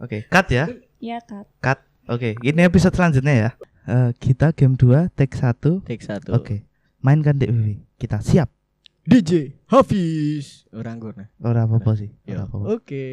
Oke, cut ya. Ya Kak. Cut. Oke, ini episode selanjutnya ya. Eh, kita game 2 take 1. Take satu. Oke. Mainkan Dek Wiwi. Kita siap. DJ Hafiz. Orang gurna. Ora apa-apa sih. Yo. Ora apa-apa. Oke.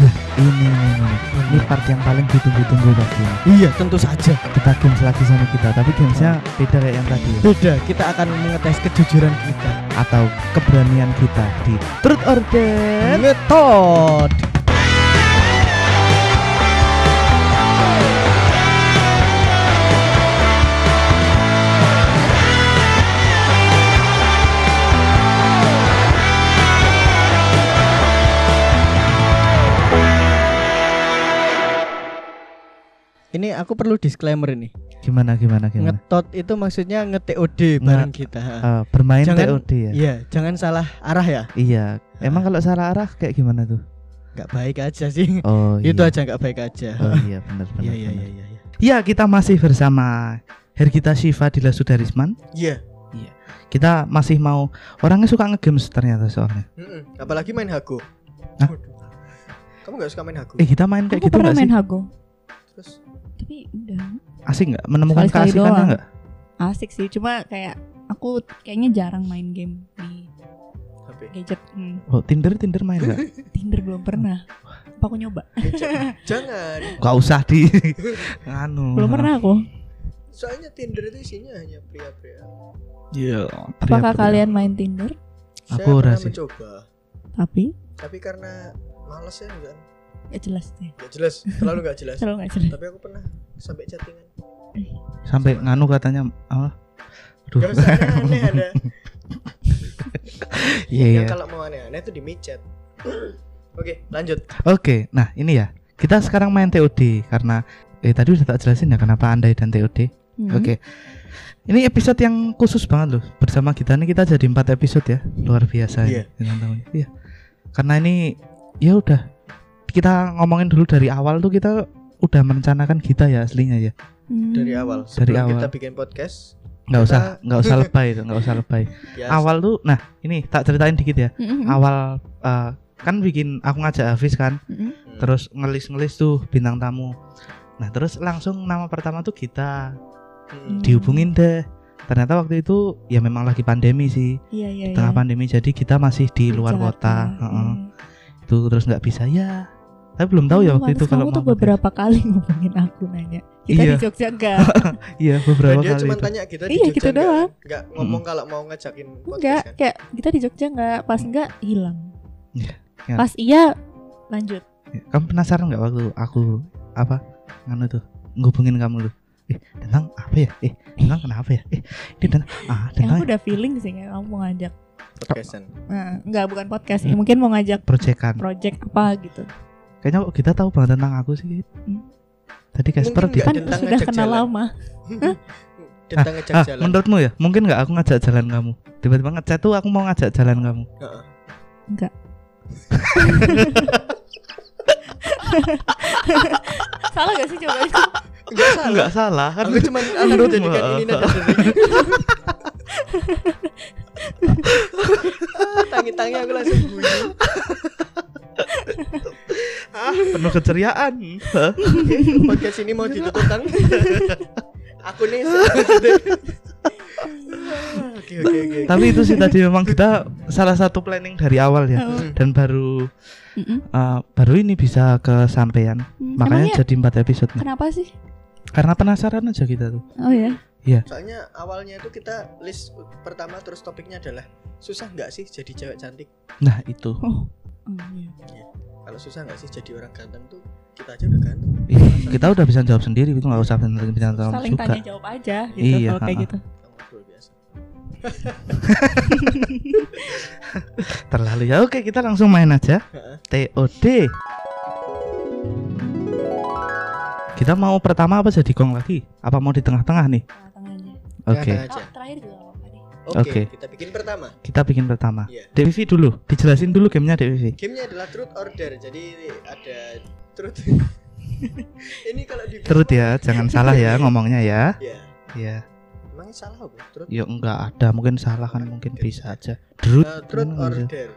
Nah, ini ini ini. Ini part yang paling ditunggu-tunggu tadi. Iya, tentu saja. Kita games lagi sama kita, tapi gamesnya beda kayak yang tadi ya. Beda, kita akan mengetes kejujuran kita. atau keberanian kita di Truth or Dare. Metode. Ini aku perlu disclaimer ini. Gimana gimana gimana? Ngetot itu maksudnya nge-TOD bareng Iya. Nge- kita. Eh, bermain Jangan- TOD ya. Iya, jangan salah arah ya. Iya. Emang kalau salah arah kayak gimana tuh? Nggak baik aja sih. Oh Itu iya. aja nggak baik aja. Oh iya benar benar. Iya, iya, benar. iya, iya. iya. Ya, kita masih bersama Hergita Shiva Dila Sudarisman. Iya. Kita masih mau orangnya suka ngegames ternyata soalnya. Mm-mm. Apalagi main Hago. Hah? Waduh. Kamu nggak suka main Hago? Eh, kita main kayak Aku gitu nggak pernah sih? main Hago. Terus Tapi udah Asik nggak? Menemukan Sekali-sekali keasikannya doang. nggak? asik sih. Cuma kayak aku kayaknya jarang main game di HP. gadget. Hmm, Oh, Tinder Tinder main nggak? Tinder belum pernah. Apa aku nyoba? Hmm. Eh, Jangan. Gak usah di anu. Belum pernah aku. Soalnya Tinder itu isinya hanya pria-pria. Iya. Apakah pria-pria. kalian main Tinder? Saya Aku ora pernah sih. mencoba, Tapi tapi karena males ya enggak. gak jelas deh. Gak jelas, terlalu gak jelas. Selalu gak jelas. tapi aku pernah sampai chattingan. sampai nganu katanya apa? Aduh. Gak usah aneh ada. Iya, Ya, iya. kalau mau aneh-aneh itu di micet. Oke, lanjut. Oke, nah ini ya. Kita sekarang main TOD karena eh tadi udah tak jelasin ya kenapa Andai dan TOD. Hmm. Oke. Ini episode yang khusus banget loh. Bersama kita nih kita jadi empat episode ya. Luar biasa ya. Iya. Dengan tahunnya. Iya. Karena ini ya udah kita ngomongin dulu dari awal tuh kita udah merencanakan kita ya aslinya ya. Hmm. Dari awal, sebelum awal. kita bikin podcast, Nggak usah, Kita- nggak usah lebay itu, nggak usah lebay. ya Awal tuh nah, ini tak ceritain dikit ya. Mm-mm. Hmm? Awal eh, kan bikin aku ngajak Hafiz kan Mm-mm. hmm. terus ngelis-ngelis tuh bintang tamu. Nah, terus langsung nama pertama tuh kita mm, dihubungin deh. Ternyata waktu itu ya memang lagi pandemi sih, Iya iya. iya. tengah pandemi jadi kita masih di luar Jakarta. kota. Heeh. Iya. Itu terus nggak bisa ya. Tapi belum tahu ya waktu Pantes itu kalau Iya, kamu tuh mau- beberapa kali ngomongin aku nanya kita Iya. di Jogja enggak Iya, Dan beberapa dia kali. itu. cuma Hmm. tanya kita di Iya, Jogja gitu enggak? doang. Enggak ngomong kalau mau ngajakin enggak podcast kan. kayak kita di Jogja enggak pas enggak hilang Iya, iya. pas iya lanjut Kamu penasaran nggak waktu aku apa nganu tuh ngubungin kamu tuh? Eh, tentang apa ya? Eh, tentang kenapa ya? Eh, ini tentang ah, ya, aku tentang udah feeling sih kayak kamu mau ngajak Podcastan. nah, enggak bukan podcast Hmm. sih mungkin mau ngajak proyekan. project apa gitu Kayaknya kok kita tahu banget tentang aku sih. Hmm. Tadi Casper Mungkin di Ya, kan tentang sudah ngajak kenal jalan. lama Tentang ngejak Ah, jalan. menurutmu ya? Mungkin nggak aku ngajak jalan kamu? Tiba-tiba ngechat tuh aku mau ngajak jalan kamu. Heeh. salah gak sih coba itu Enggak salah. Nggak salah kan? Aku cuma anu jadikan ini nada Tangi-tangi aku langsung bunyi. Ah, penuh keceriaan. Hah? Podcast ini mau ditutup kan? aku nih. Oke oke oke. Tapi itu sih tadi memang kita salah satu planning dari awal ya. Hmm. Hmm. Dan baru Mm-mm. eh, baru ini bisa kesampaian. Hmm, Makanya emangnya jadi empat episode nih. kenapa sih Karena penasaran aja kita tuh. oh ya Soalnya awalnya itu kita list pertama terus topiknya adalah susah nggak sih jadi cewek cantik? Nah itu. oh, Hmm. oh iya. Kalau susah nggak sih jadi orang ganteng tuh kita aja udah ganteng. Ih, Iya, kita udah bisa jawab sendiri itu nggak usah bintang tamu saling juga. tanya jawab aja gitu Iya, kalau kayak ha-ha. gitu Kamu luar biasa. Terlalu ya. Oke kita langsung main aja. Heeh. TOD. Kita mau pertama apa jadi gong lagi? Apa mau di tengah-tengah nih? tengah Nah, aja Oke. Tengah-tengah aja. oh, terakhir juga nggak apa-apa deh Oke, Oke. kita bikin pertama. kita bikin pertama. Iya. DPV dulu, dijelasin dulu gamenya DPV. Gamenya adalah Truth or Dare. Jadi ada Terus ini kalau di Terus ya, jangan salah ya ngomongnya ya. Ya, Ya, emangnya salah apa? Terus ya enggak ada, mungkin salah kan mungkin bisa aja. Drut. Eh, truth Hmm, or gitu. dare.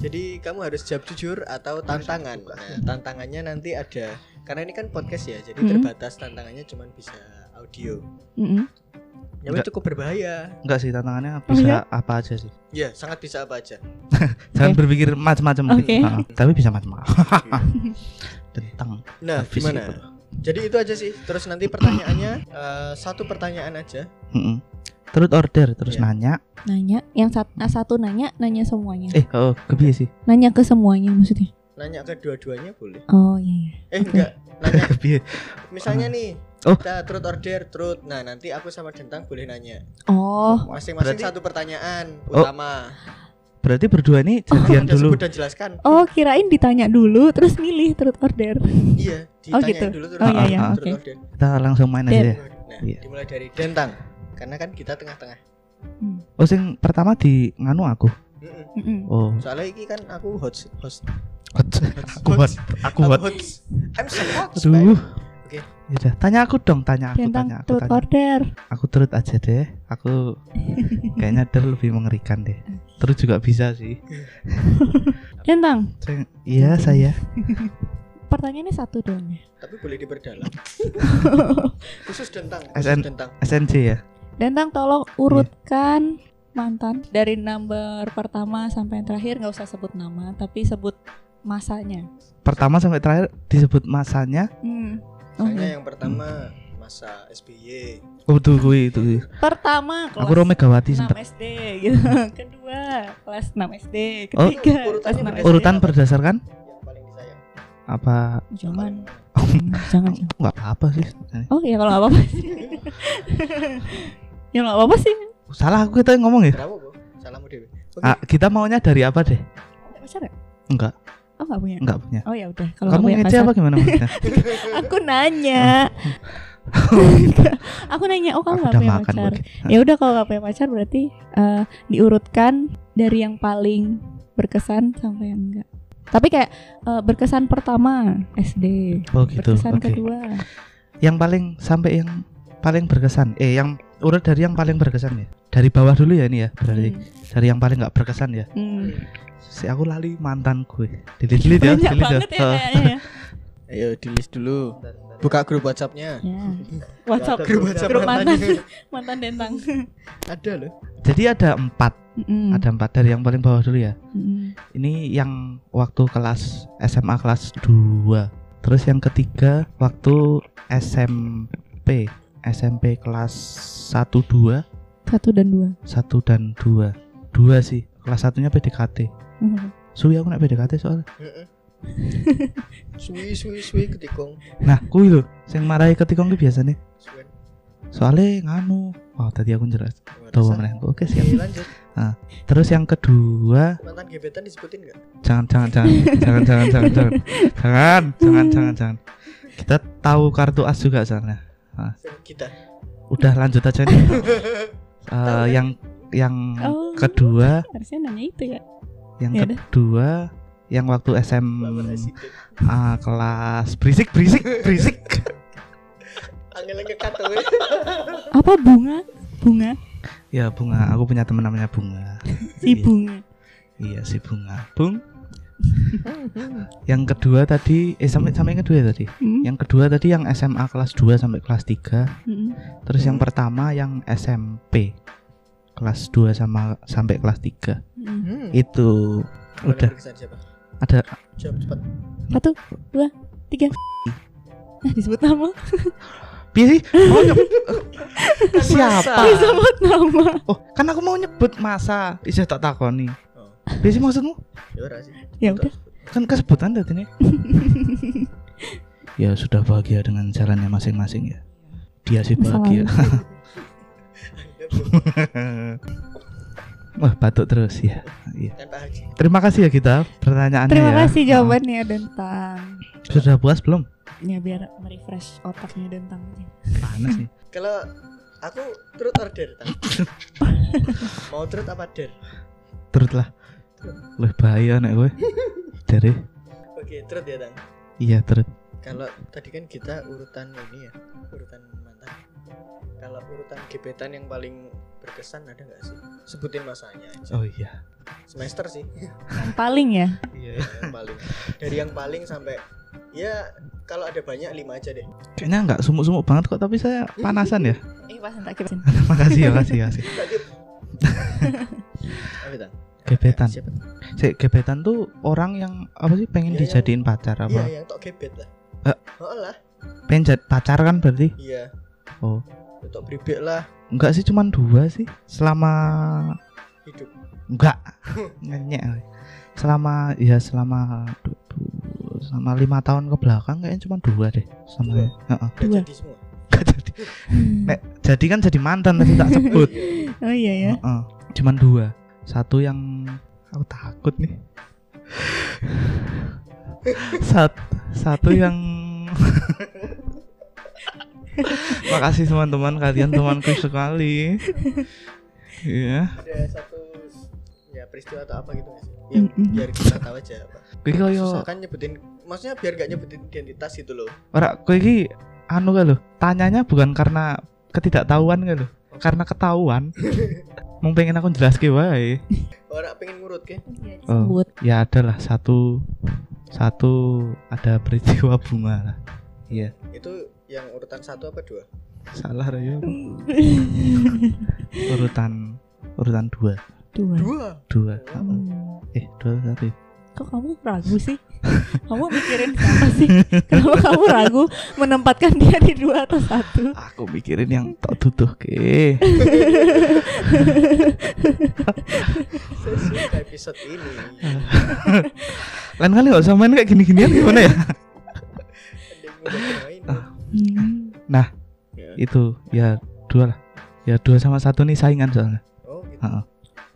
Jadi kamu harus jawab jujur atau tantangan. Nah, tantangannya nanti ada karena ini kan podcast ya, jadi Hmm. terbatas tantangannya cuman bisa audio. Mm-mm. Ya Enggak. cukup berbahaya. Enggak sih tantangannya Oh, bisa iya? apa aja sih. Ya, sangat bisa apa aja. Jangan berpikir macam-macam. Oke. Ah, tapi bisa macam-macam. Tentang Nah, Habis gimana? itu. Jadi itu aja sih. Terus nanti pertanyaannya eh, satu pertanyaan aja. Mm-mm. Terus order, terus Iya. nanya. Nanya yang sat- nah, satu nanya, nanya semuanya. Eh, oh, kebiasa sih. Nanya ke semuanya maksudnya. Nanya ke dua-duanya boleh. Oh iya. iya. Eh, enggak. Nanya Kebiasa. misalnya nih Oh. kita truth or dare, truth. Nah, nanti aku sama Dentang boleh nanya. Oh, Masing-masing Berarti- satu pertanyaan Oh. utama. Berarti berdua ini Yang jadian dulu. sebut dan jelaskan. oh kirain ditanya dulu terus milih truth order. Iya, Oh, ditanyain gitu. dulu terus Oh, iya, iya, terus oke. order. Kita langsung main Dare. aja ya. Nah, Iya. dimulai dari Dentang. Karena kan kita tengah-tengah. Oh, sing pertama di nganu aku. Mm-mm. Mm-mm. Oh, Soalnya ini kan aku host host. aku buat, aku Aku buat. host. I'm so host. Aduh. Oke. Ya udah, tanya aku dong, tanya aku, Tentang tanya aku, truth tanya. order. Aku turut aja deh. Aku kayaknya ter lebih mengerikan deh. Terus juga bisa sih. Tentang Saya- Iya, saya. pertanyaannya satu doang. ya? Tapi boleh diperdalam. Khusus Dentang. SN. Khusus Dentang. SNC ya. Tentang tolong urutkan mantan dari nomor pertama sampai yang terakhir nggak usah sebut nama tapi sebut masanya. Pertama sampai terakhir disebut masanya. Hmm. Oh, Misalnya iya. yang pertama masa SBY. Oh, tuh kui, tuh, kui. Pertama kelas Aku Rome Megawati 6 sempat. SD gitu. Kedua kelas 6 SD, Oh, ketiga kelas urutannya 6 SD. berdasarkan- Urutan berdasarkan Yang paling disayang. apa? Jangan, Paling- Oh. Hmm, jangan, jangan. Enggak apa-apa sih. Oh ya kalau nggak apa-apa sih. ya nggak apa-apa sih. Salah aku kita ngomong ya. Kenapa, Bu? Salahmu Dewi. Oke. Ah, kita maunya dari apa deh? Nggak Pacar ya? Enggak, Oh nggak punya. enggak punya. Oh ya udah kalau nggak Kamu punya ngece pacar. apa gimana maksudnya? Aku nanya. aku nanya oh Aku kamu nggak udah punya makan pacar. Budi. Ya udah kalau nggak punya pacar berarti eh, diurutkan dari yang paling berkesan sampai yang enggak. Tapi kayak eh, berkesan pertama SD, Oh gitu. berkesan Oke. kedua. Yang paling sampai yang paling berkesan. Eh, yang urut dari yang paling berkesan ya. Dari bawah dulu ya ini ya. Dari Hmm. dari yang paling nggak berkesan ya. Hmm. Si aku lali mantan gue. Dililit ya, dililit Banyak ya. banget ya Heeh. kayaknya. ya. Ayo di list dulu. Buka grup WhatsApp-nya. Ya. WhatsApp Grup WhatsApp grup mantan mantannya. mantan dentang. Ada loh. Jadi ada empat, Mm-mm. ada empat dari yang paling bawah dulu ya. Mm-mm. Ini yang waktu kelas SMA kelas 2 Terus yang ketiga waktu SMP SMP kelas 1 2 Satu dan dua. 1 dan 2 2 sih Kelas satunya PDKT Hmm. Mhm. Suwi aku nak PDKT soalnya Heeh. Suwi suwi suwi ketikung. Nah kui lho Yang marahi ketikong ki biasanya Suwen. Soalnya nganu Wah tadi aku jelas Tahu Warasan. meneh Oke siap Oke, lanjut. Terus yang kedua Mantan gebetan disebutin enggak? Jangan jangan jangan Jangan jangan jangan jangan Jangan jangan jangan jangan Kita tahu kartu as juga sana Kita. udah lanjut aja nih. Eh, yang yang Oh. kedua, Harusnya nanya itu ya. yang Ya udah. kedua yang waktu Lawan SMA residen. kelas berisik berisik berisik Hmm. Angel ngekat tuh. ya. Apa bunga? Bunga. ya bunga aku punya teman namanya bunga Si Iya, bunga. iya si bunga bung yang kedua tadi eh sampai sampai yang kedua ya tadi Hmm. yang kedua tadi yang SMA kelas 2 sampai kelas 3 Mm-mm. terus Hmm. yang pertama yang SMP kelas 2 sama sampai kelas 3 Mm-mm. Hmm. itu Mana udah berkesan siapa? ada Jawab cepat. Satu, dua, tiga. Nah, disebut nama. Piye sih? Mau nyebut Ah. siapa? Disebut nama. Oh, kan aku mau nyebut masa. Isih tak takoni. Oh. Piye sih maksudmu? Ya ora sih. Ya udah. Kan kesebutan tadi ini. ya sudah bahagia dengan caranya masing-masing ya. Dia sih Masa bahagia. Wah, batuk terus ya. Iya. Tanpa haji. Terima kasih ya kita pertanyaannya Terima ya. kasih jawabannya Dentang. Sudah puas belum? Ya biar merefresh otaknya Dentang aja. Panas nih. Kalau aku turut order Tan. Mau turut apa der? Turut lah. Wah, bahaya nek ya, kowe. Dari Oke, turut ya Tan. Iya, terus Kalau tadi kan kita urutan ini ya, urutan mantan. Kalau urutan gebetan yang paling berkesan ada nggak sih? Sebutin masanya aja. Oh iya. Semester sih. yang paling ya Eh, Iya, yang paling. Dari yang paling sampai ya kalau ada banyak lima aja deh. Kayaknya nggak sumuk-sumuk banget kok, tapi saya panasan ya. eh pas tak kibasin makasih, ya, makasih, makasih. Lanjut. Apa itu? Gebetan. Siapa? Si gebetan tuh orang yang apa sih pengen Iya, dijadiin pacar apa? Iya, yang tok gebet lah. Eh. Oh lah, Pengen jad- pacar kan berarti? iya. Oh. Ya, Tok bribek lah Enggak sih, cuman dua sih. Selama hidup. enggak ngenyek. Selama ya selama du- du- selama lima tahun ke belakang kayaknya cuma dua deh sama Dua? Heeh. Udah Dua. jadi semua. Nggak jadi Nek, jadi kan jadi mantan tadi tak sebut Iya. Hmm. oh iya ya Heeh. cuman dua satu yang aku takut nih Sat, satu yang makasih teman-teman kalian temanku sekali Iya, Ada satu ya peristiwa atau apa gitu nggak sih? Yang Mm-mm. biar kita tahu aja apa. kuwi Susah koyo kan nyebutin maksudnya biar gak nyebutin identitas gitu loh. ora kuwi iki anu gak lho, tanyanya bukan karena ketidaktahuan gak lho, karena ketahuan. Mau pengen aku jelaske wae. Orang pengen ngurut ke? Oh. sebut ya adalah satu satu ada peristiwa bunga lah Iya. Itu yang urutan satu apa dua? salah Rayo urutan urutan dua dua Dua. dua Hmm. Oh, eh dua satu kok kamu ragu sih kamu mikirin apa sih kenapa kamu ragu menempatkan dia di dua atau satu aku mikirin yang tak tutuh ke Saya suka episode ini. lain kali gak usah main kayak gini-ginian gimana ya Ada yang udah main. Hmm. Ya. itu ya dua lah ya dua sama satu nih saingan soalnya Oh gitu. Heeh.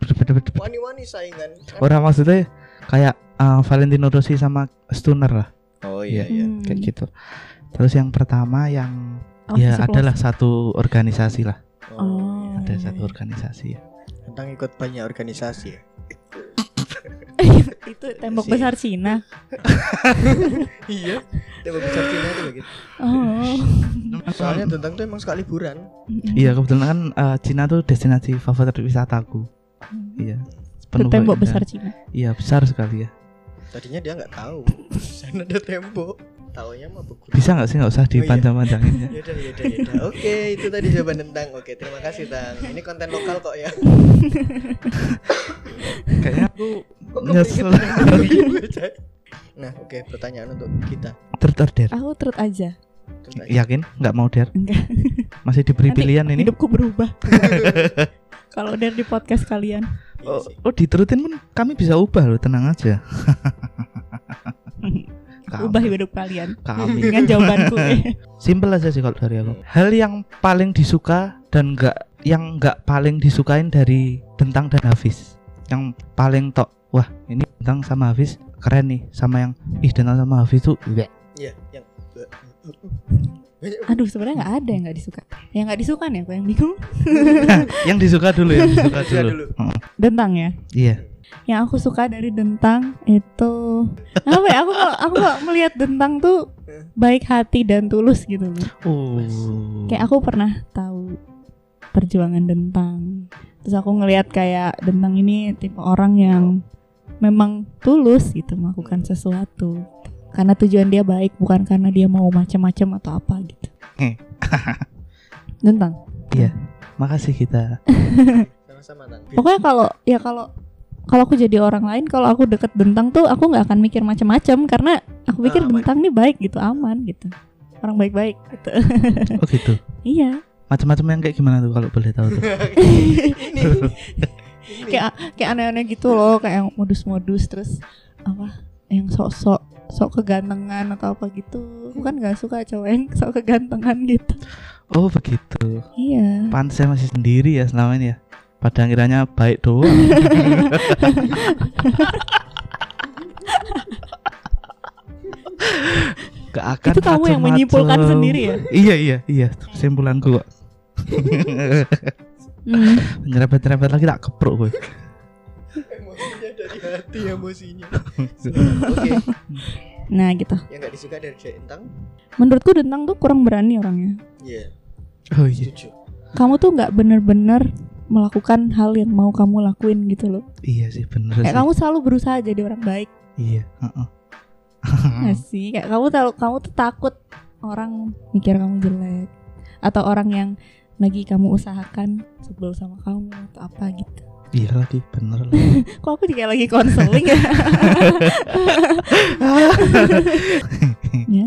Berdebet-debet. Wani-wani saingan. Kan? orang maksudnya kayak eh, Valentino Rossi sama Stoner lah Oh iya, iya. kayak gitu terus yang pertama yang Hmm. Oh, ya masih adalah satu organisasi lah Oh. ada satu organisasi ya. iya. Tentang ikut banyak organisasi ya. close. itu tembok Sih. besar Cina iya. Dia bicara Cina tuh gitu. oh Soalnya tentang tuh emang suka liburan. Iya kebetulan kan eh, Cina tuh destinasi favorit wisataku. Hmm. Iya. itu penuh tembok keindahan. besar Cina Iya besar sekali ya. Tadinya dia nggak tahu. Sana ada tembok. Taunya mah begitu. Bisa nggak sih nggak usah iya. dipanjang-panjangin ya? Yaudah, yaudah, yaudah. Oke, itu tadi jawaban tentang. Oke, terima kasih Tang. Ini konten lokal kok ya. Kayaknya aku Kok nyesel kepikiran? gitu, nah, oke, pertanyaan untuk kita. Ter- terder. aku terus aja Tentang Yakin nggak mau der? Ah. Enggak. Masih diberi Nanti pilihan ini? hidupku berubah kalau dari di podcast kalian ini Oh, sih. oh diterutin pun kami bisa ubah loh tenang aja. Kamu- ubah hidup kalian kami. dengan jawabanku ya. Simple aja sih kalau dari aku. Hmm. Hal yang paling disuka dan enggak yang enggak paling disukain dari Bentang dan Hafiz. Yang paling tok, wah ini Bentang sama Hafiz keren nih sama yang ih Bentang sama Hafiz tuh bleh. Iya, yang aduh sebenarnya nggak ada yang nggak disuka yang nggak disuka nih aku yang bingung yang disuka dulu yang disuka Disuka dulu. Iya dulu. Heeh, dentang ya iya. yang aku suka dari dentang itu apa ya aku kok aku kok melihat dentang tuh baik hati dan tulus gitu loh Oh. kayak aku pernah tahu perjuangan Dentang terus aku ngelihat kayak Dentang ini tipe orang yang memang tulus gitu melakukan sesuatu karena tujuan dia baik bukan karena dia mau macam-macam atau apa gitu Eh. Dentang Makasih kita. sama-sama Tang. Oh. pokoknya kalau ya kalau kalau aku jadi orang lain kalau aku deket Dentang tuh aku nggak akan mikir macam-macam karena aku pikir Ah, aman. Dentang nih baik gitu aman gitu orang baik-baik gitu Oh gitu. iya Macam-macam yang kayak gimana tuh kalau boleh tahu tuh. Ini. Ini. Kayak- kayak aneh-aneh gitu loh kayak yang modus-modus terus apa yang sok-sok sok kegantengan atau apa gitu bukan nggak suka cowok yang sok kegantengan gitu Oh begitu. iya Pantes saya masih sendiri ya selama ini ya. Padahal kiranya baik doang. Gak akan itu kamu yang macem-macem. menyimpulkan sendiri ya Iya iya iya kesimpulanku kok. Hmm. Nyerempet-nyerempet lagi tak kepruk gue. Emosinya dari hati emosinya. Oke. Nah gitu. Yang nggak disuka dari Dentang? Menurutku Dentang tuh kurang berani orangnya. Iya, Oh iya. setuju. Kamu tuh nggak bener-bener melakukan hal yang mau kamu lakuin gitu loh. Iya sih bener sih. Kayak kamu selalu berusaha jadi orang baik. Iya. heeh. Hmm. nggak sih. Kayak kamu tahu kamu tuh takut orang mikir kamu jelek atau orang yang lagi kamu usahakan sebel sama kamu atau apa gitu. iya lagi bener lah. Kok aku juga lagi konseling ya? Ya.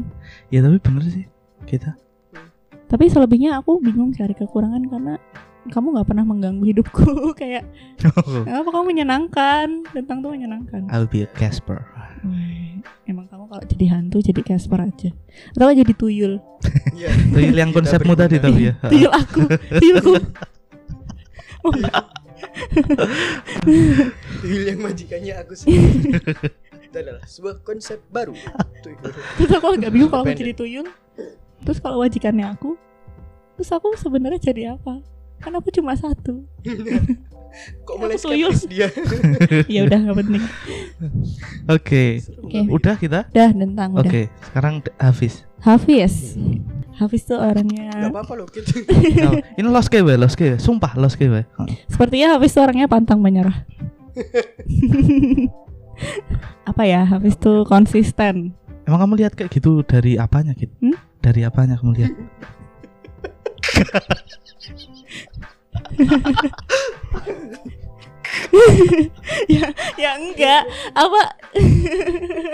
ya tapi bener sih kita. Tapi selebihnya aku bingung cari kekurangan karena kamu nggak pernah mengganggu hidupku kayak apa kamu menyenangkan tentang tuh menyenangkan I'll be a Casper. Wah, emang kamu kalau jadi hantu jadi Casper aja atau jadi tuyul Iya. Tuyul yang Kita konsepmu tadi berguna. tapi ya. tuyul aku tuyulku Mohon maaf. Tuyul yang majikannya aku sendiri. Itu adalah sebuah konsep baru. Tuyul. terus aku agak bingung kalau aku Pendek. jadi tuyul terus kalau wajikannya aku terus aku sebenarnya jadi apa kan aku cuma satu Kok mulai Aku tuyul. skeptis dia? iya, ya udah nggak penting Oke. Serem Oke. banget. Eh, Udah kita? dah tentang udah Oke, sekarang D- Hafiz. Hafiz Hafiz tuh Gak orangnya apa-apa loh gitu. Nah, ini lost key, we, lost key, we. Sumpah lost key, we. Heeh. sepertinya Hafiz tuh orangnya pantang menyerah apa ya Hafiz tuh konsisten Emang kamu lihat kayak gitu dari apanya gitu? Hmm? Dari apanya kamu lihat? ya enggak apa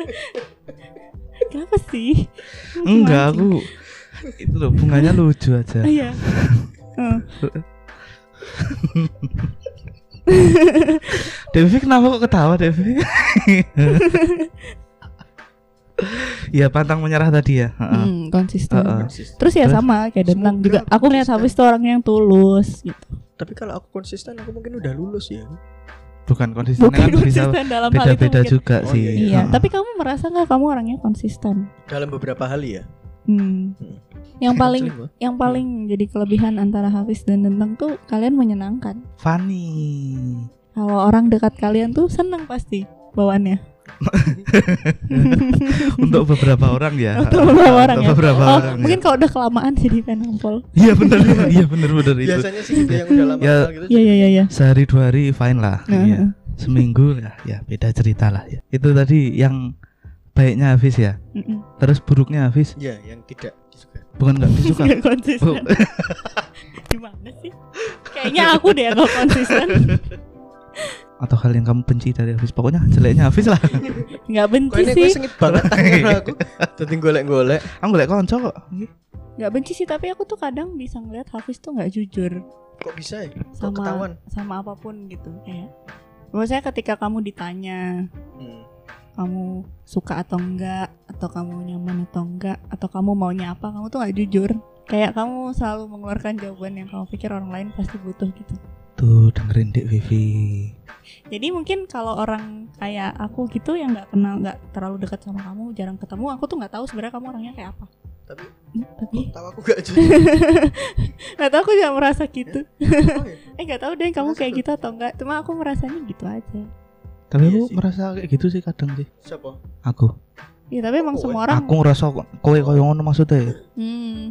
kenapa sih Kamu Enggak, mancing. aku itu loh bunganya lucu aja. Ah, iya Eh, Devi kenapa kok ketawa Devi? ya pantang menyerah tadi ya. Heeh. hmm, konsisten Heeh. terus ya Ah, Terus? sama kayak Denang Semoga juga aku melihat konsisten. habis tuh orang yang tulus gitu Tapi kalau aku konsisten aku mungkin udah lulus ya. Bukan konsisten kan bukan bisa konsisten dalam hal itu beda-beda mungkin. juga Oh, sih. Ah, iya, iya Heeh. tapi kamu merasa nggak kamu orangnya konsisten Dalam beberapa hal ya. hmm. Hmm. yang paling Seling gua. yang paling jadi kelebihan antara Hafiz dan Denang tuh kalian menyenangkan Funny. kalau orang dekat kalian tuh seneng pasti bawaannya Untuk beberapa orang ya. Untuk beberapa orang Untuk ya. beberapa Oh, orang. ya. mungkin kalau udah kelamaan jadi fan nampol. Iya benar iya, iya benar benar itu. Biasanya sih gitu yang udah lama Ya. kenal gitu. Iya iya iya iya. Sehari dua hari fine lah. Nah, Iya. Seminggu ya, ya beda cerita lah ya. Itu tadi yang baiknya Hafiz ya. mm-mm. Terus buruknya Hafiz Iya, yang tidak disuka. bukan nggak disuka. Nggak konsisten. Bu- Gimana sih? Kayaknya aku deh yang nggak konsisten. atau hal yang kamu benci dari Hafiz pokoknya jeleknya Hafiz lah Nggak Kok benci ini gue Gitu sih. sengit banget tangan aku. Tadi golek-golek. kamu golek konco kok Nggak benci sih, tapi aku tuh kadang bisa ngeliat Hafiz tuh nggak jujur Kok bisa ya? Kok sama ketahuan? sama apapun gitu. Kayak Maksudnya ketika kamu ditanya Hmm. kamu suka atau enggak atau kamu nyaman atau enggak atau kamu maunya apa kamu tuh nggak jujur kayak kamu selalu mengeluarkan jawaban yang kamu pikir orang lain pasti butuh gitu tuh dengerin dek Vivi Jadi mungkin kalau orang kayak aku gitu yang nggak kenal, nggak terlalu dekat sama kamu, jarang ketemu, aku tuh nggak tahu sebenarnya kamu orangnya kayak apa. Tapi Hmm, tapi kok tahu aku gak jujur. nggak tahu aku juga merasa gitu. Oh, iya. Eh nggak tahu deh kamu Merasa kayak tuh. gitu atau enggak. Cuma aku merasanya gitu aja. tapi Iya aku sih. merasa kayak gitu sih kadang sih Siapa? aku Ya tapi emang Oh, semua orang. aku ngerasa kok- kowe koyo ngono maksudnya ya. Hmm, Hmm.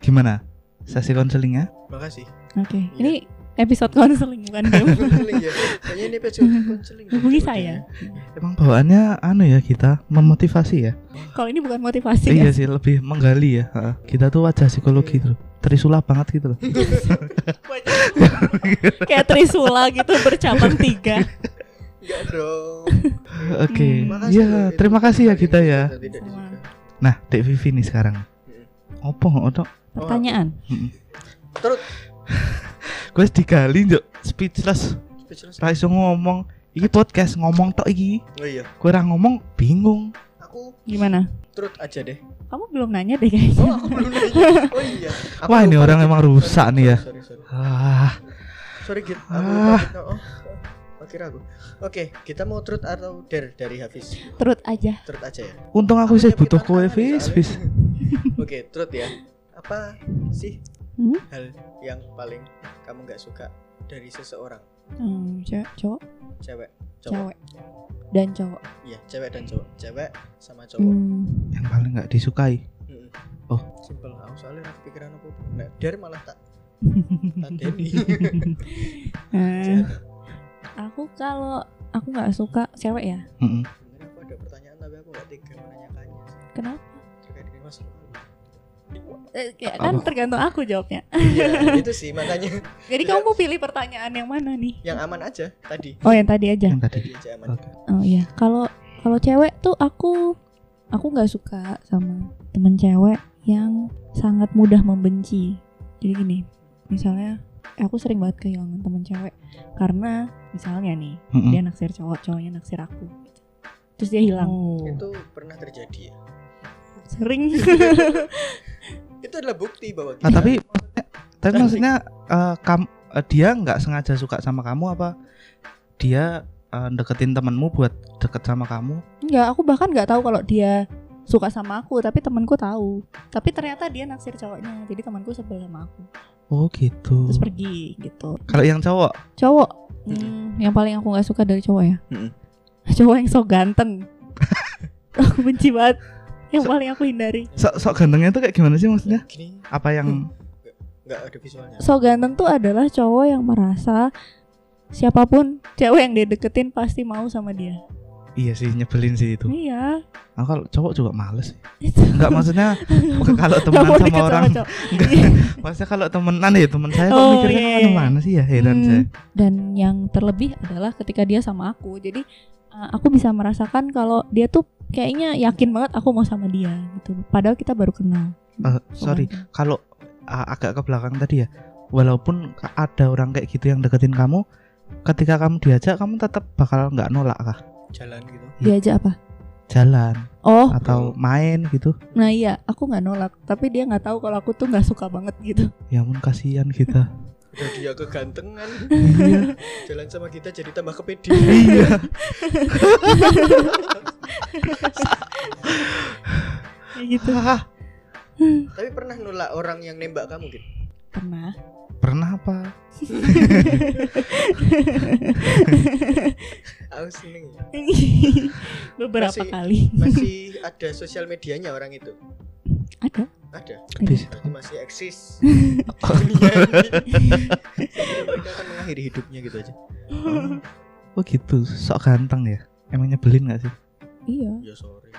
gimana sesi ya? konselingnya Makasih. oke. Iya. Ini episode counseling bukan game. Konseling ya. Kayaknya ini episode konseling. deh. Hubungi Coba saya. deh. emang bawaannya anu ya kita memotivasi ya kalau ini bukan motivasi iya ya. sih lebih menggali ya Heeh. kita tuh wajah psikologi tuh Trisula banget gitu loh kayak Trisula gitu bercabang tiga. Enggak dong. oke Hmm. Makasih loh, ya itu terima kasih ya pertanyaan kita ya yang tidak Sama. disuka. nah dek Vivi nih sekarang opo otok Pertanyaan. Terus gue digali njuk speechless speechless. ra iso ngomong iki podcast ngomong tok iki Oh iya, kowe ra ngomong bingung aku Gimana? terus aja deh. Kamu belum nanya deh kayaknya. Oh, aku belum nanya. Oh iya. Aku Wah, ini lupa, orang Git. emang Sorry, rusak sorry, nih ya. Sorry, sorry. ah Sorry, Git. Aku lupa, Ah. Git. Oh, oh, akhirnya aku. Oke, kita mau truth atau dare dari Hafiz. Terus aja. Truth aja ya. untung aku Aku sih punya butuh kowe pertanyaan nih Fis soalnya. Fis Oke, truth ya. Apa sih Hmm? hal yang paling kamu nggak suka dari seseorang Hmm, cewek- cowok. cewek? cowok cewek dan cowok. iya cewek dan cowok cewek sama cowok Hmm. yang paling nggak disukai Mm-mm. Oh. simpel aku soalnya aku pikiran aku nah, der malah tak tak deni Eh, aku kalau aku nggak suka cewek ya. Mm-mm. sebenarnya aku ada pertanyaan tapi aku nggak tega menanyakannya sih Kenapa? terkait dengan masa lalu Eh, kayak kan Apa? tergantung aku jawabnya. iya itu sih makanya Jadi kamu mau pilih pertanyaan yang mana nih? yang aman aja tadi Oh yang tadi aja. yang tadi tadi aja aman Oh iya, kalau kalau cewek tuh aku aku nggak suka sama temen cewek yang sangat mudah membenci. Jadi gini, misalnya aku sering banget kehilangan temen cewek karena misalnya nih Mm-mm. dia naksir cowok, cowoknya naksir aku, gitu. terus dia Oh. hilang. Gitu. itu pernah terjadi ya Sering. itu adalah bukti bahwa Ah, Nah, tapi tapi maksudnya eh, kam- eh, dia nggak sengaja suka sama kamu apa dia eh, deketin temenmu buat deket sama kamu Enggak, aku bahkan nggak tahu kalau dia suka sama aku, tapi temanku tahu. Tapi ternyata dia naksir cowoknya, jadi temanku sebel sama aku. oh gitu Terus pergi gitu. kalau yang cowok cowok Mm-mm. Hmm, yang paling aku nggak suka dari cowok ya Mm-mm. cowok yang sok ganteng aku benci banget yang So- paling aku hindari sok sok gantengnya itu kayak gimana sih maksudnya gini apa Hmm. yang nggak ada visualnya sok ganteng tuh adalah cowok yang merasa siapapun cewek yang dia deketin pasti mau sama dia iya sih nyebelin sih itu iya Nah, kalau cowok juga males sih. itu Enggak maksudnya kalau Nggak temenan mau sama deket orang. cowok. Enggak. Maksudnya kalau temenan ya teman saya kok Oh, mikirnya iya, iya. kemana-mana sih ya heran Hmm, saya. dan yang terlebih adalah ketika dia sama aku jadi uh, aku bisa merasakan kalau dia tuh kayaknya yakin banget aku mau sama dia gitu padahal kita baru kenal Eh, sorry, kalau ah, agak ke belakang tadi ya. Walaupun ka- ada orang kayak gitu yang deketin kamu, ketika kamu diajak kamu tetap bakal nggak nolak kah? jalan gitu diajak apa Jalan oh atau main gitu. Nah iya, aku nggak nolak, tapi dia nggak tahu kalau aku tuh nggak suka banget gitu. Ya ampun kasihan kita. udah dia kegantengan Iya. jalan sama kita jadi tambah kepede Iya. Kayak gitu. Ah, tapi pernah nolak orang yang nembak kamu gitu Pernah. Pernah apa? aku seneng ya. Beberapa Masih- kali. masih ada sosial medianya orang itu Ada. ada Habis itu. berarti masih eksis Dunia ini. Jadi mereka akan mengakhiri hidupnya gitu aja Oh gitu, sok ganteng ya. Emang nyebelin gak sih? iya. ya sorry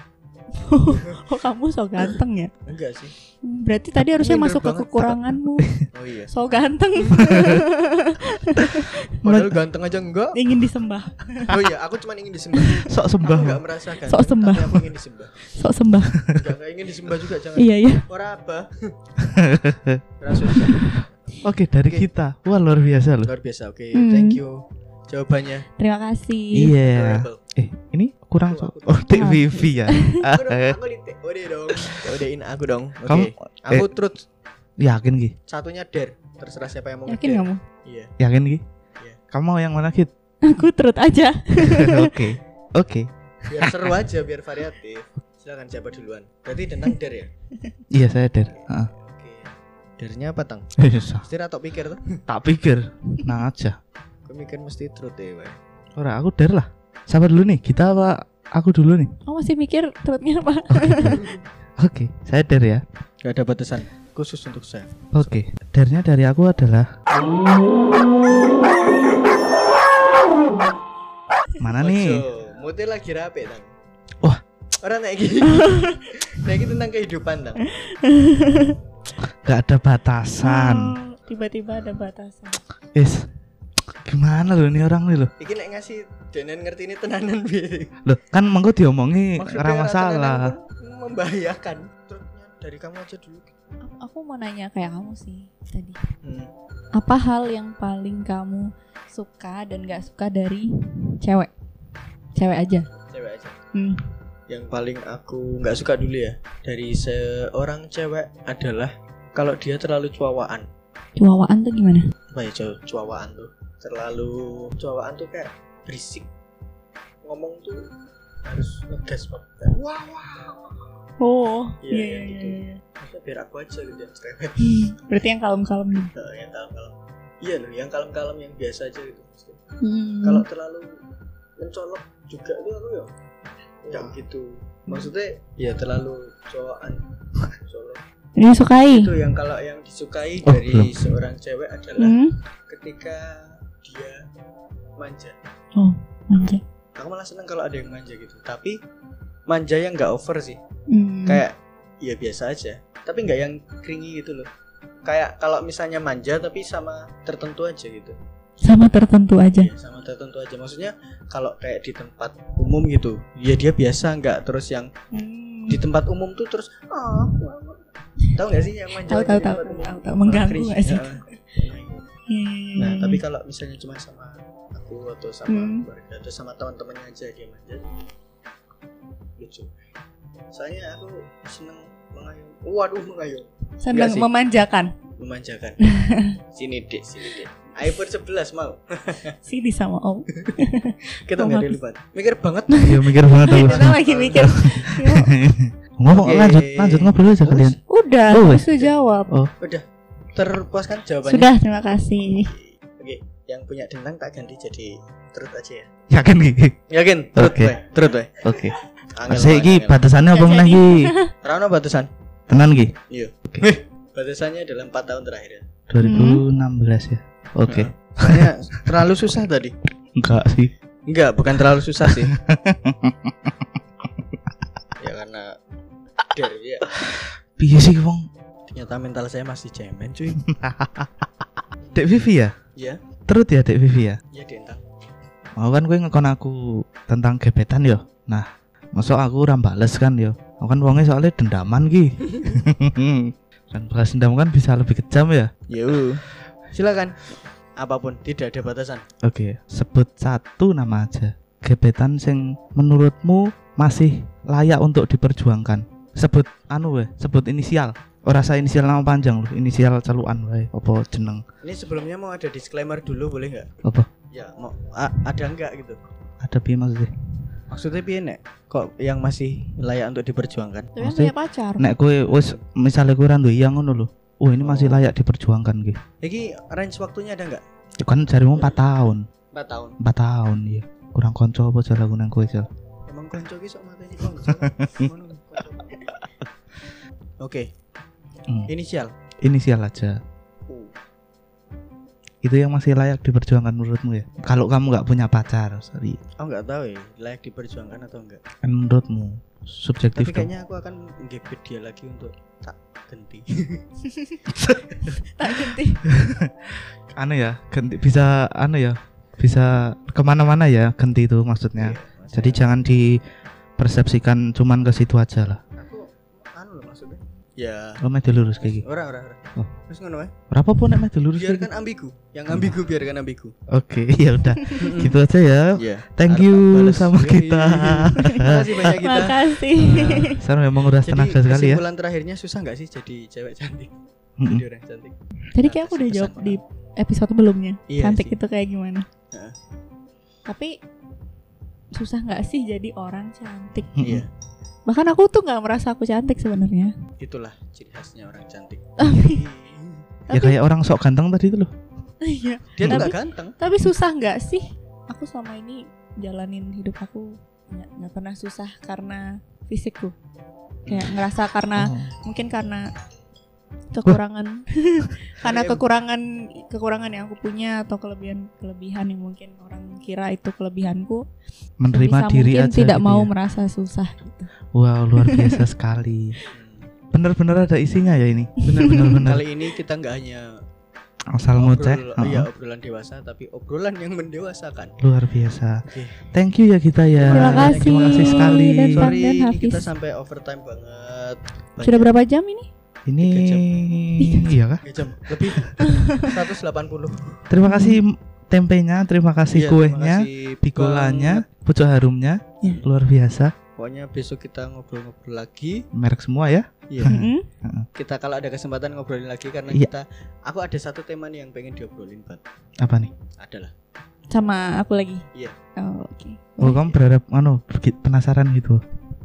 Kok kamu so ganteng ya? enggak sih Berarti tadi harusnya minder masuk ke banget. kekuranganmu. oh iya So ganteng. padahal ganteng aja enggak Ingin disembah. oh iya aku cuma ingin disembah Sok aku sembah. enggak merasa ganteng Sok sembah. tapi aku ingin disembah Sok sembah. enggak enggak ingin disembah juga jangan iya iya. ora apa Rasul. Oke, dari Oke. kita. Wah, luar biasa loh. luar biasa oke Hmm. thank you jawabannya Terima kasih. Iya. adorable. Eh, ini kurang Aku- so- aku- Oh, Tik aku. Vivi ya. aku dong aku di TOD dong TOD-in aku dong oke Kamu Eh, aku terus yakin Ki? satunya der terserah siapa yang mau Yakin nge-dare. kamu? iya Yakin Ki? Iya. Kamu mau yang mana Kit? Aku turut aja. Oke. Oke. biar seru aja biar variatif silakan siapa duluan berarti tentang der ya Iya, saya Der. Heeh. oke dernya apa tang Susah. setir atau pikir tuh Tak pikir. Nah aja. aku mikir mesti truth ya, deh wae Ora, aku Der lah. Siapa dulu nih? Kita apa aku dulu nih? Kamu masih mikir turutnya apa? Oke, saya Der ya. gak ada batasan khusus untuk saya Oke, dernya dari aku adalah Mana nih? Ojo, mute lagi rapi tang Wah. orang naik gini naik gini tentang kehidupan tang Gak ada batasan. Oh, Tiba-tiba ada batasan. Is. Gimana loh nih orang nih loh? Iki nek ngasih denen ngerti ini tenanan bi Loh, kan mengko diomongi ora masalah. membahayakan truthnya dari kamu aja dulu Aku mau nanya kayak kamu sih tadi. hmm. apa hal yang paling kamu suka dan gak suka dari cewek cewek aja cewek aja hmm. yang paling aku nggak suka dulu ya dari seorang cewek adalah kalau dia terlalu cuawaan cuawaan tuh gimana apa ya cu- cuawaan tuh terlalu cuawaan tuh kayak berisik ngomong tuh harus ngegas banget wah wah oh Iya, iya, gitu. Maksudnya biar aku aja gitu yang cewek iya. berarti yang kalem kalem nih Nah, yang kalem kalem iya loh yang kalem kalem yang biasa aja gitu Maksudnya, Hmm. kalau terlalu mencolok juga tuh aku ya nggak begitu maksudnya ya terlalu cowokan colok Ini sukai. itu yang kalau yang disukai Oh, dari belum. seorang cewek adalah Hmm? ketika dia manja Manja. aku malah seneng kalau ada yang manja gitu tapi manja yang nggak over sih Hmm. kayak ya biasa aja tapi nggak yang kringi gitu loh kayak kalau misalnya manja tapi sama tertentu aja gitu sama tertentu aja. Iya, sama tertentu aja maksudnya kalau kayak di tempat umum gitu ya dia biasa nggak terus yang Hmm. di tempat umum tuh terus ah wah, wah." tahu nggak sih yang manja Tahu di tahu tahu tempat tahu umum? tahu, tahu. Orang mengganggu cringe, gak sih? ya. Iya, iya, nah iya, tapi iya. kalau misalnya cuma sama aku atau sama Hmm. keluarga atau sama teman-temannya aja dia manja lucu soalnya aku seneng mengayomi waduh mengayomi senang sih. memanjakan. memanjakan sini dek sini dek iPhone 11 mau Sini sama Om. kita nggak Otomatis. dilipat mikir banget Iya mikir banget aku. Kita lagi mikir. Ya, Ngomong Oke. Oh, lanjut lanjut ngobrol aja kalian. Udah, Oh, terus jawab. terpuaskan jawabannya Sudah, terima kasih. oke yang punya dendang tak ganti jadi terut aja ya Yakin gigi. yakin terut Oke. okay. terut wae Oke. angel Saya wae, iki angel. batasannya apa Nggak meneh jadi. iki? Rano batasan Tenan iki. batasannya adalah 4 tahun terakhir ya 2016 ya. Oke. soalnya terlalu susah tadi Enggak sih. Nah. enggak bukan terlalu susah sih ya karena dari ya Piye sih wong? ternyata mental saya masih cemen cuy Dek Vivi ya? Iya. Terus ya Dek Vivi ya? ya dendang Mau kan gue ngekon aku tentang gebetan yo. Nah, masuk aku ora bales kan yo. Aku kan wonge soalnya dendaman ki. kan balas dendam kan bisa lebih kejam ya. Yo. Silakan. Apapun, tidak ada batasan. Oke, sebut satu nama aja. Gebetan sing menurutmu masih layak untuk diperjuangkan. Sebut anu weh, sebut inisial. Ora usah inisial nama panjang loh, inisial celuan wae apa jeneng. Ini sebelumnya mau ada disclaimer dulu boleh nggak? Apa? Ya, mau a- ada nggak gitu. Ada piye maksudnya? Maksudnya piye nek? Kok yang masih layak untuk diperjuangkan? Tapi kan Maksudnya- punya pacar. Nek gue wis misalnya gue randu iya ngono lho. Oh, ini masih layak diperjuangkan ki. Iki range waktunya ada nggak? Ya Kan jarimu 4 tahun, 4 tahun. 4 tahun ya. Kurang konco apa jalan gunang kowe Jal? Emang konco ki sok mateni konco. Ngono, konco. Oke, Hmm. inisial. Inisial aja. Uh. Itu yang masih layak diperjuangkan menurutmu ya? Kalau kamu nggak punya pacar, sorry. Aku nggak tahu ya, layak diperjuangkan atau enggak. Kan menurutmu subjektif Tapi dong. kayaknya aku akan gebet dia lagi untuk tak ganti. Tak ganti. anu ya ganti bisa anu ya bisa kemana-mana ya ganti itu maksudnya Iya. jadi jangan dipersepsikan cuman ke situ aja lah aku anu loh maksudnya ya lo meh dilurus kayak gitu ora ora ora Oh. terus ngono wae berapa pun nek meh dilurus kayak biarkan ambigu yang ambigu biarkan ambigu gitu. oke ya udah gitu aja ya ya thank Harap you balas. Iya, sama Yoi. kita terima kasih banyak kita Nah, Makasih. saya memang udah iya. jadi tenaga sekali ya kesimpulan terakhirnya susah nggak sih jadi cewek cantik Mm-mm. jadi orang cantik Jadi kayak aku udah jawab di episode belumnya. Iya Cantik gitu. sih. Nah. itu kayak gimana? Heeh. Tapi susah nggak sih jadi orang cantik? Mm-mm. iya Bahkan aku tuh nggak merasa aku cantik sebenarnya. itulah ciri khasnya orang cantik ya kayak orang sok ganteng tadi itu loh Iya. dia tuh Tapi- nggak ganteng Tapi susah nggak sih? Aku selama ini jalanin hidup aku nggak nggak pernah susah karena fisikku. Kayak ngerasa karena Oh. mungkin karena kekurangan karena Ayam. kekurangan kekurangan yang aku punya atau kelebihan kelebihan yang mungkin orang kira itu kelebihanku menerima sebisa diri mungkin aja tidak gitu mau ya. merasa susah gitu. wow luar biasa sekali bener-bener ada isinya ya ini benar-benar Benar-benar. kali ini kita nggak hanya asal ngoceh obrol, heeh. iya, obrolan dewasa tapi obrolan yang mendewasakan luar biasa. Oke. Thank you ya kita ya. Terima kasih. Terima kasih sekali. Dan Sorry. sorry Pandan ini habis. kita sampai overtime banget Sudah berapa jam ini? Ini Tiga jam. iya kah? Tiga jam lebih 180 Terima kasih tempenya, terima kasih Iya, terima kuenya, kasih bikolanya, banget. pucuk harumnya. Iya. Luar biasa. Pokoknya besok kita ngobrol-ngobrol lagi. Merek semua ya. Iya. Hmm? kita kalau ada kesempatan ngobrolin lagi karena Iya. kita aku ada satu tema nih yang pengen diobrolin banget. Apa nih? Adalah Sama aku lagi. Iya. Oh, Oke. Oh, kamu berharap anu begi- penasaran gitu.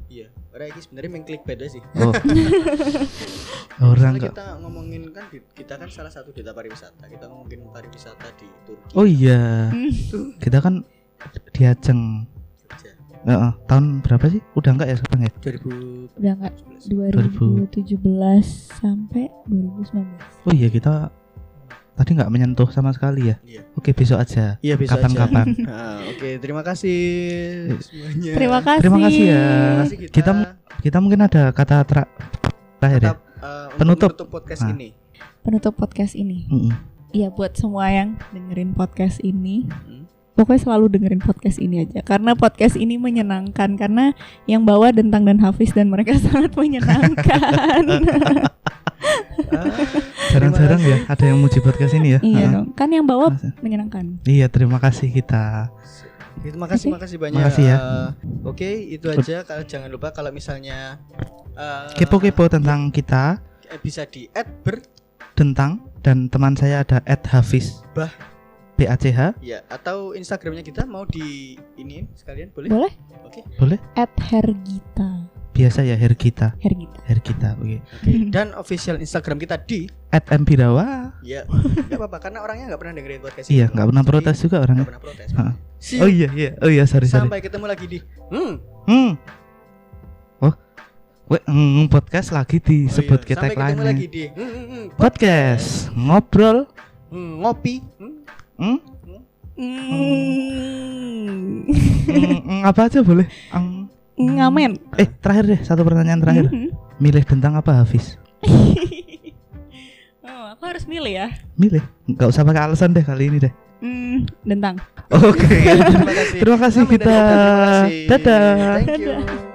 iya. Orang ini sebenarnya main clickbait aja sih. Oh. Orang Soalnya enggak. kita ngomongin kan di- kita kan salah satu duta pariwisata. Kita ngomongin pariwisata di Turki. Oh iya. Oh, Kita kan Diajeng. Heeh, tahun berapa sih? Udah enggak ya sekarang ya? 2000 udah nggak 2017 sampai 2019 Oh iya kita tadi nggak menyentuh sama sekali ya. Iya. Oke besok aja. Iya bisa aja. Kapan-kapan. Ah, Oke terima kasih semuanya. terima kasih Terima kasih ya. Terima kasih kita, Kita mu- Kita mungkin ada kata tra- terakhir ya. tetap, eh, untuk Penutup. menutup podcast Ah. ini. penutup podcast ini Mm-mm. ya buat semua yang dengerin podcast ini Hmm. pokoknya selalu dengerin podcast ini aja karena podcast ini menyenangkan karena yang bawa Dentang dan Hafiz dan mereka sangat menyenangkan Ah. Jarang-jarang ya ada yang muji podcast ini ya. iya Heeh. dong kan yang bawa Masa- menyenangkan Iya, terima kasih kita. Ya, Terima kasih, Oke. makasih banyak. Makasih ya. Eh, Oke, itu aja. Kalau jangan lupa kalau misalnya eh, Kepo-kepo tentang kita, eh, bisa di add ber tentang dan teman saya ada Ed Hafiz. Bah. B A C H. ya atau Instagramnya kita mau di ini sekalian boleh? boleh Boleh? at Hergita Biasa ya Hergita, Hergita Hergita. Oke. Dan official Instagram kita di Ed Mbirawa. ya nggak apa-apa karena orangnya nggak pernah dengerin podcast ini. Iya, nggak pernah Jadi, protes juga nggak orangnya. pernah protes. Ah. See Oh you. iya, iya. Oh iya, sorry, sorry. Sampai ketemu lagi di hmm. Hmm. Oh. We, hmm, podcast lagi Oh disebut iya, kita Sampai ketemu lainnya. lagi di hmm, hmm, hmm, Podcast ngobrol. hmm, ngopi. Hmm. Hmm? Mm. Hmm, hmm, apa aja boleh. Hmm. ngamen Eh, terakhir deh, satu pertanyaan terakhir. Mhm. Milih tentang apa Hafiz? oh, aku harus milih ya Milih. Enggak usah pakai alasan deh kali ini deh. Hmm, dentang Oke. Terima kasih. Terima kasih Kami dari kita. Open, terima kasih. Dadah. Thank you.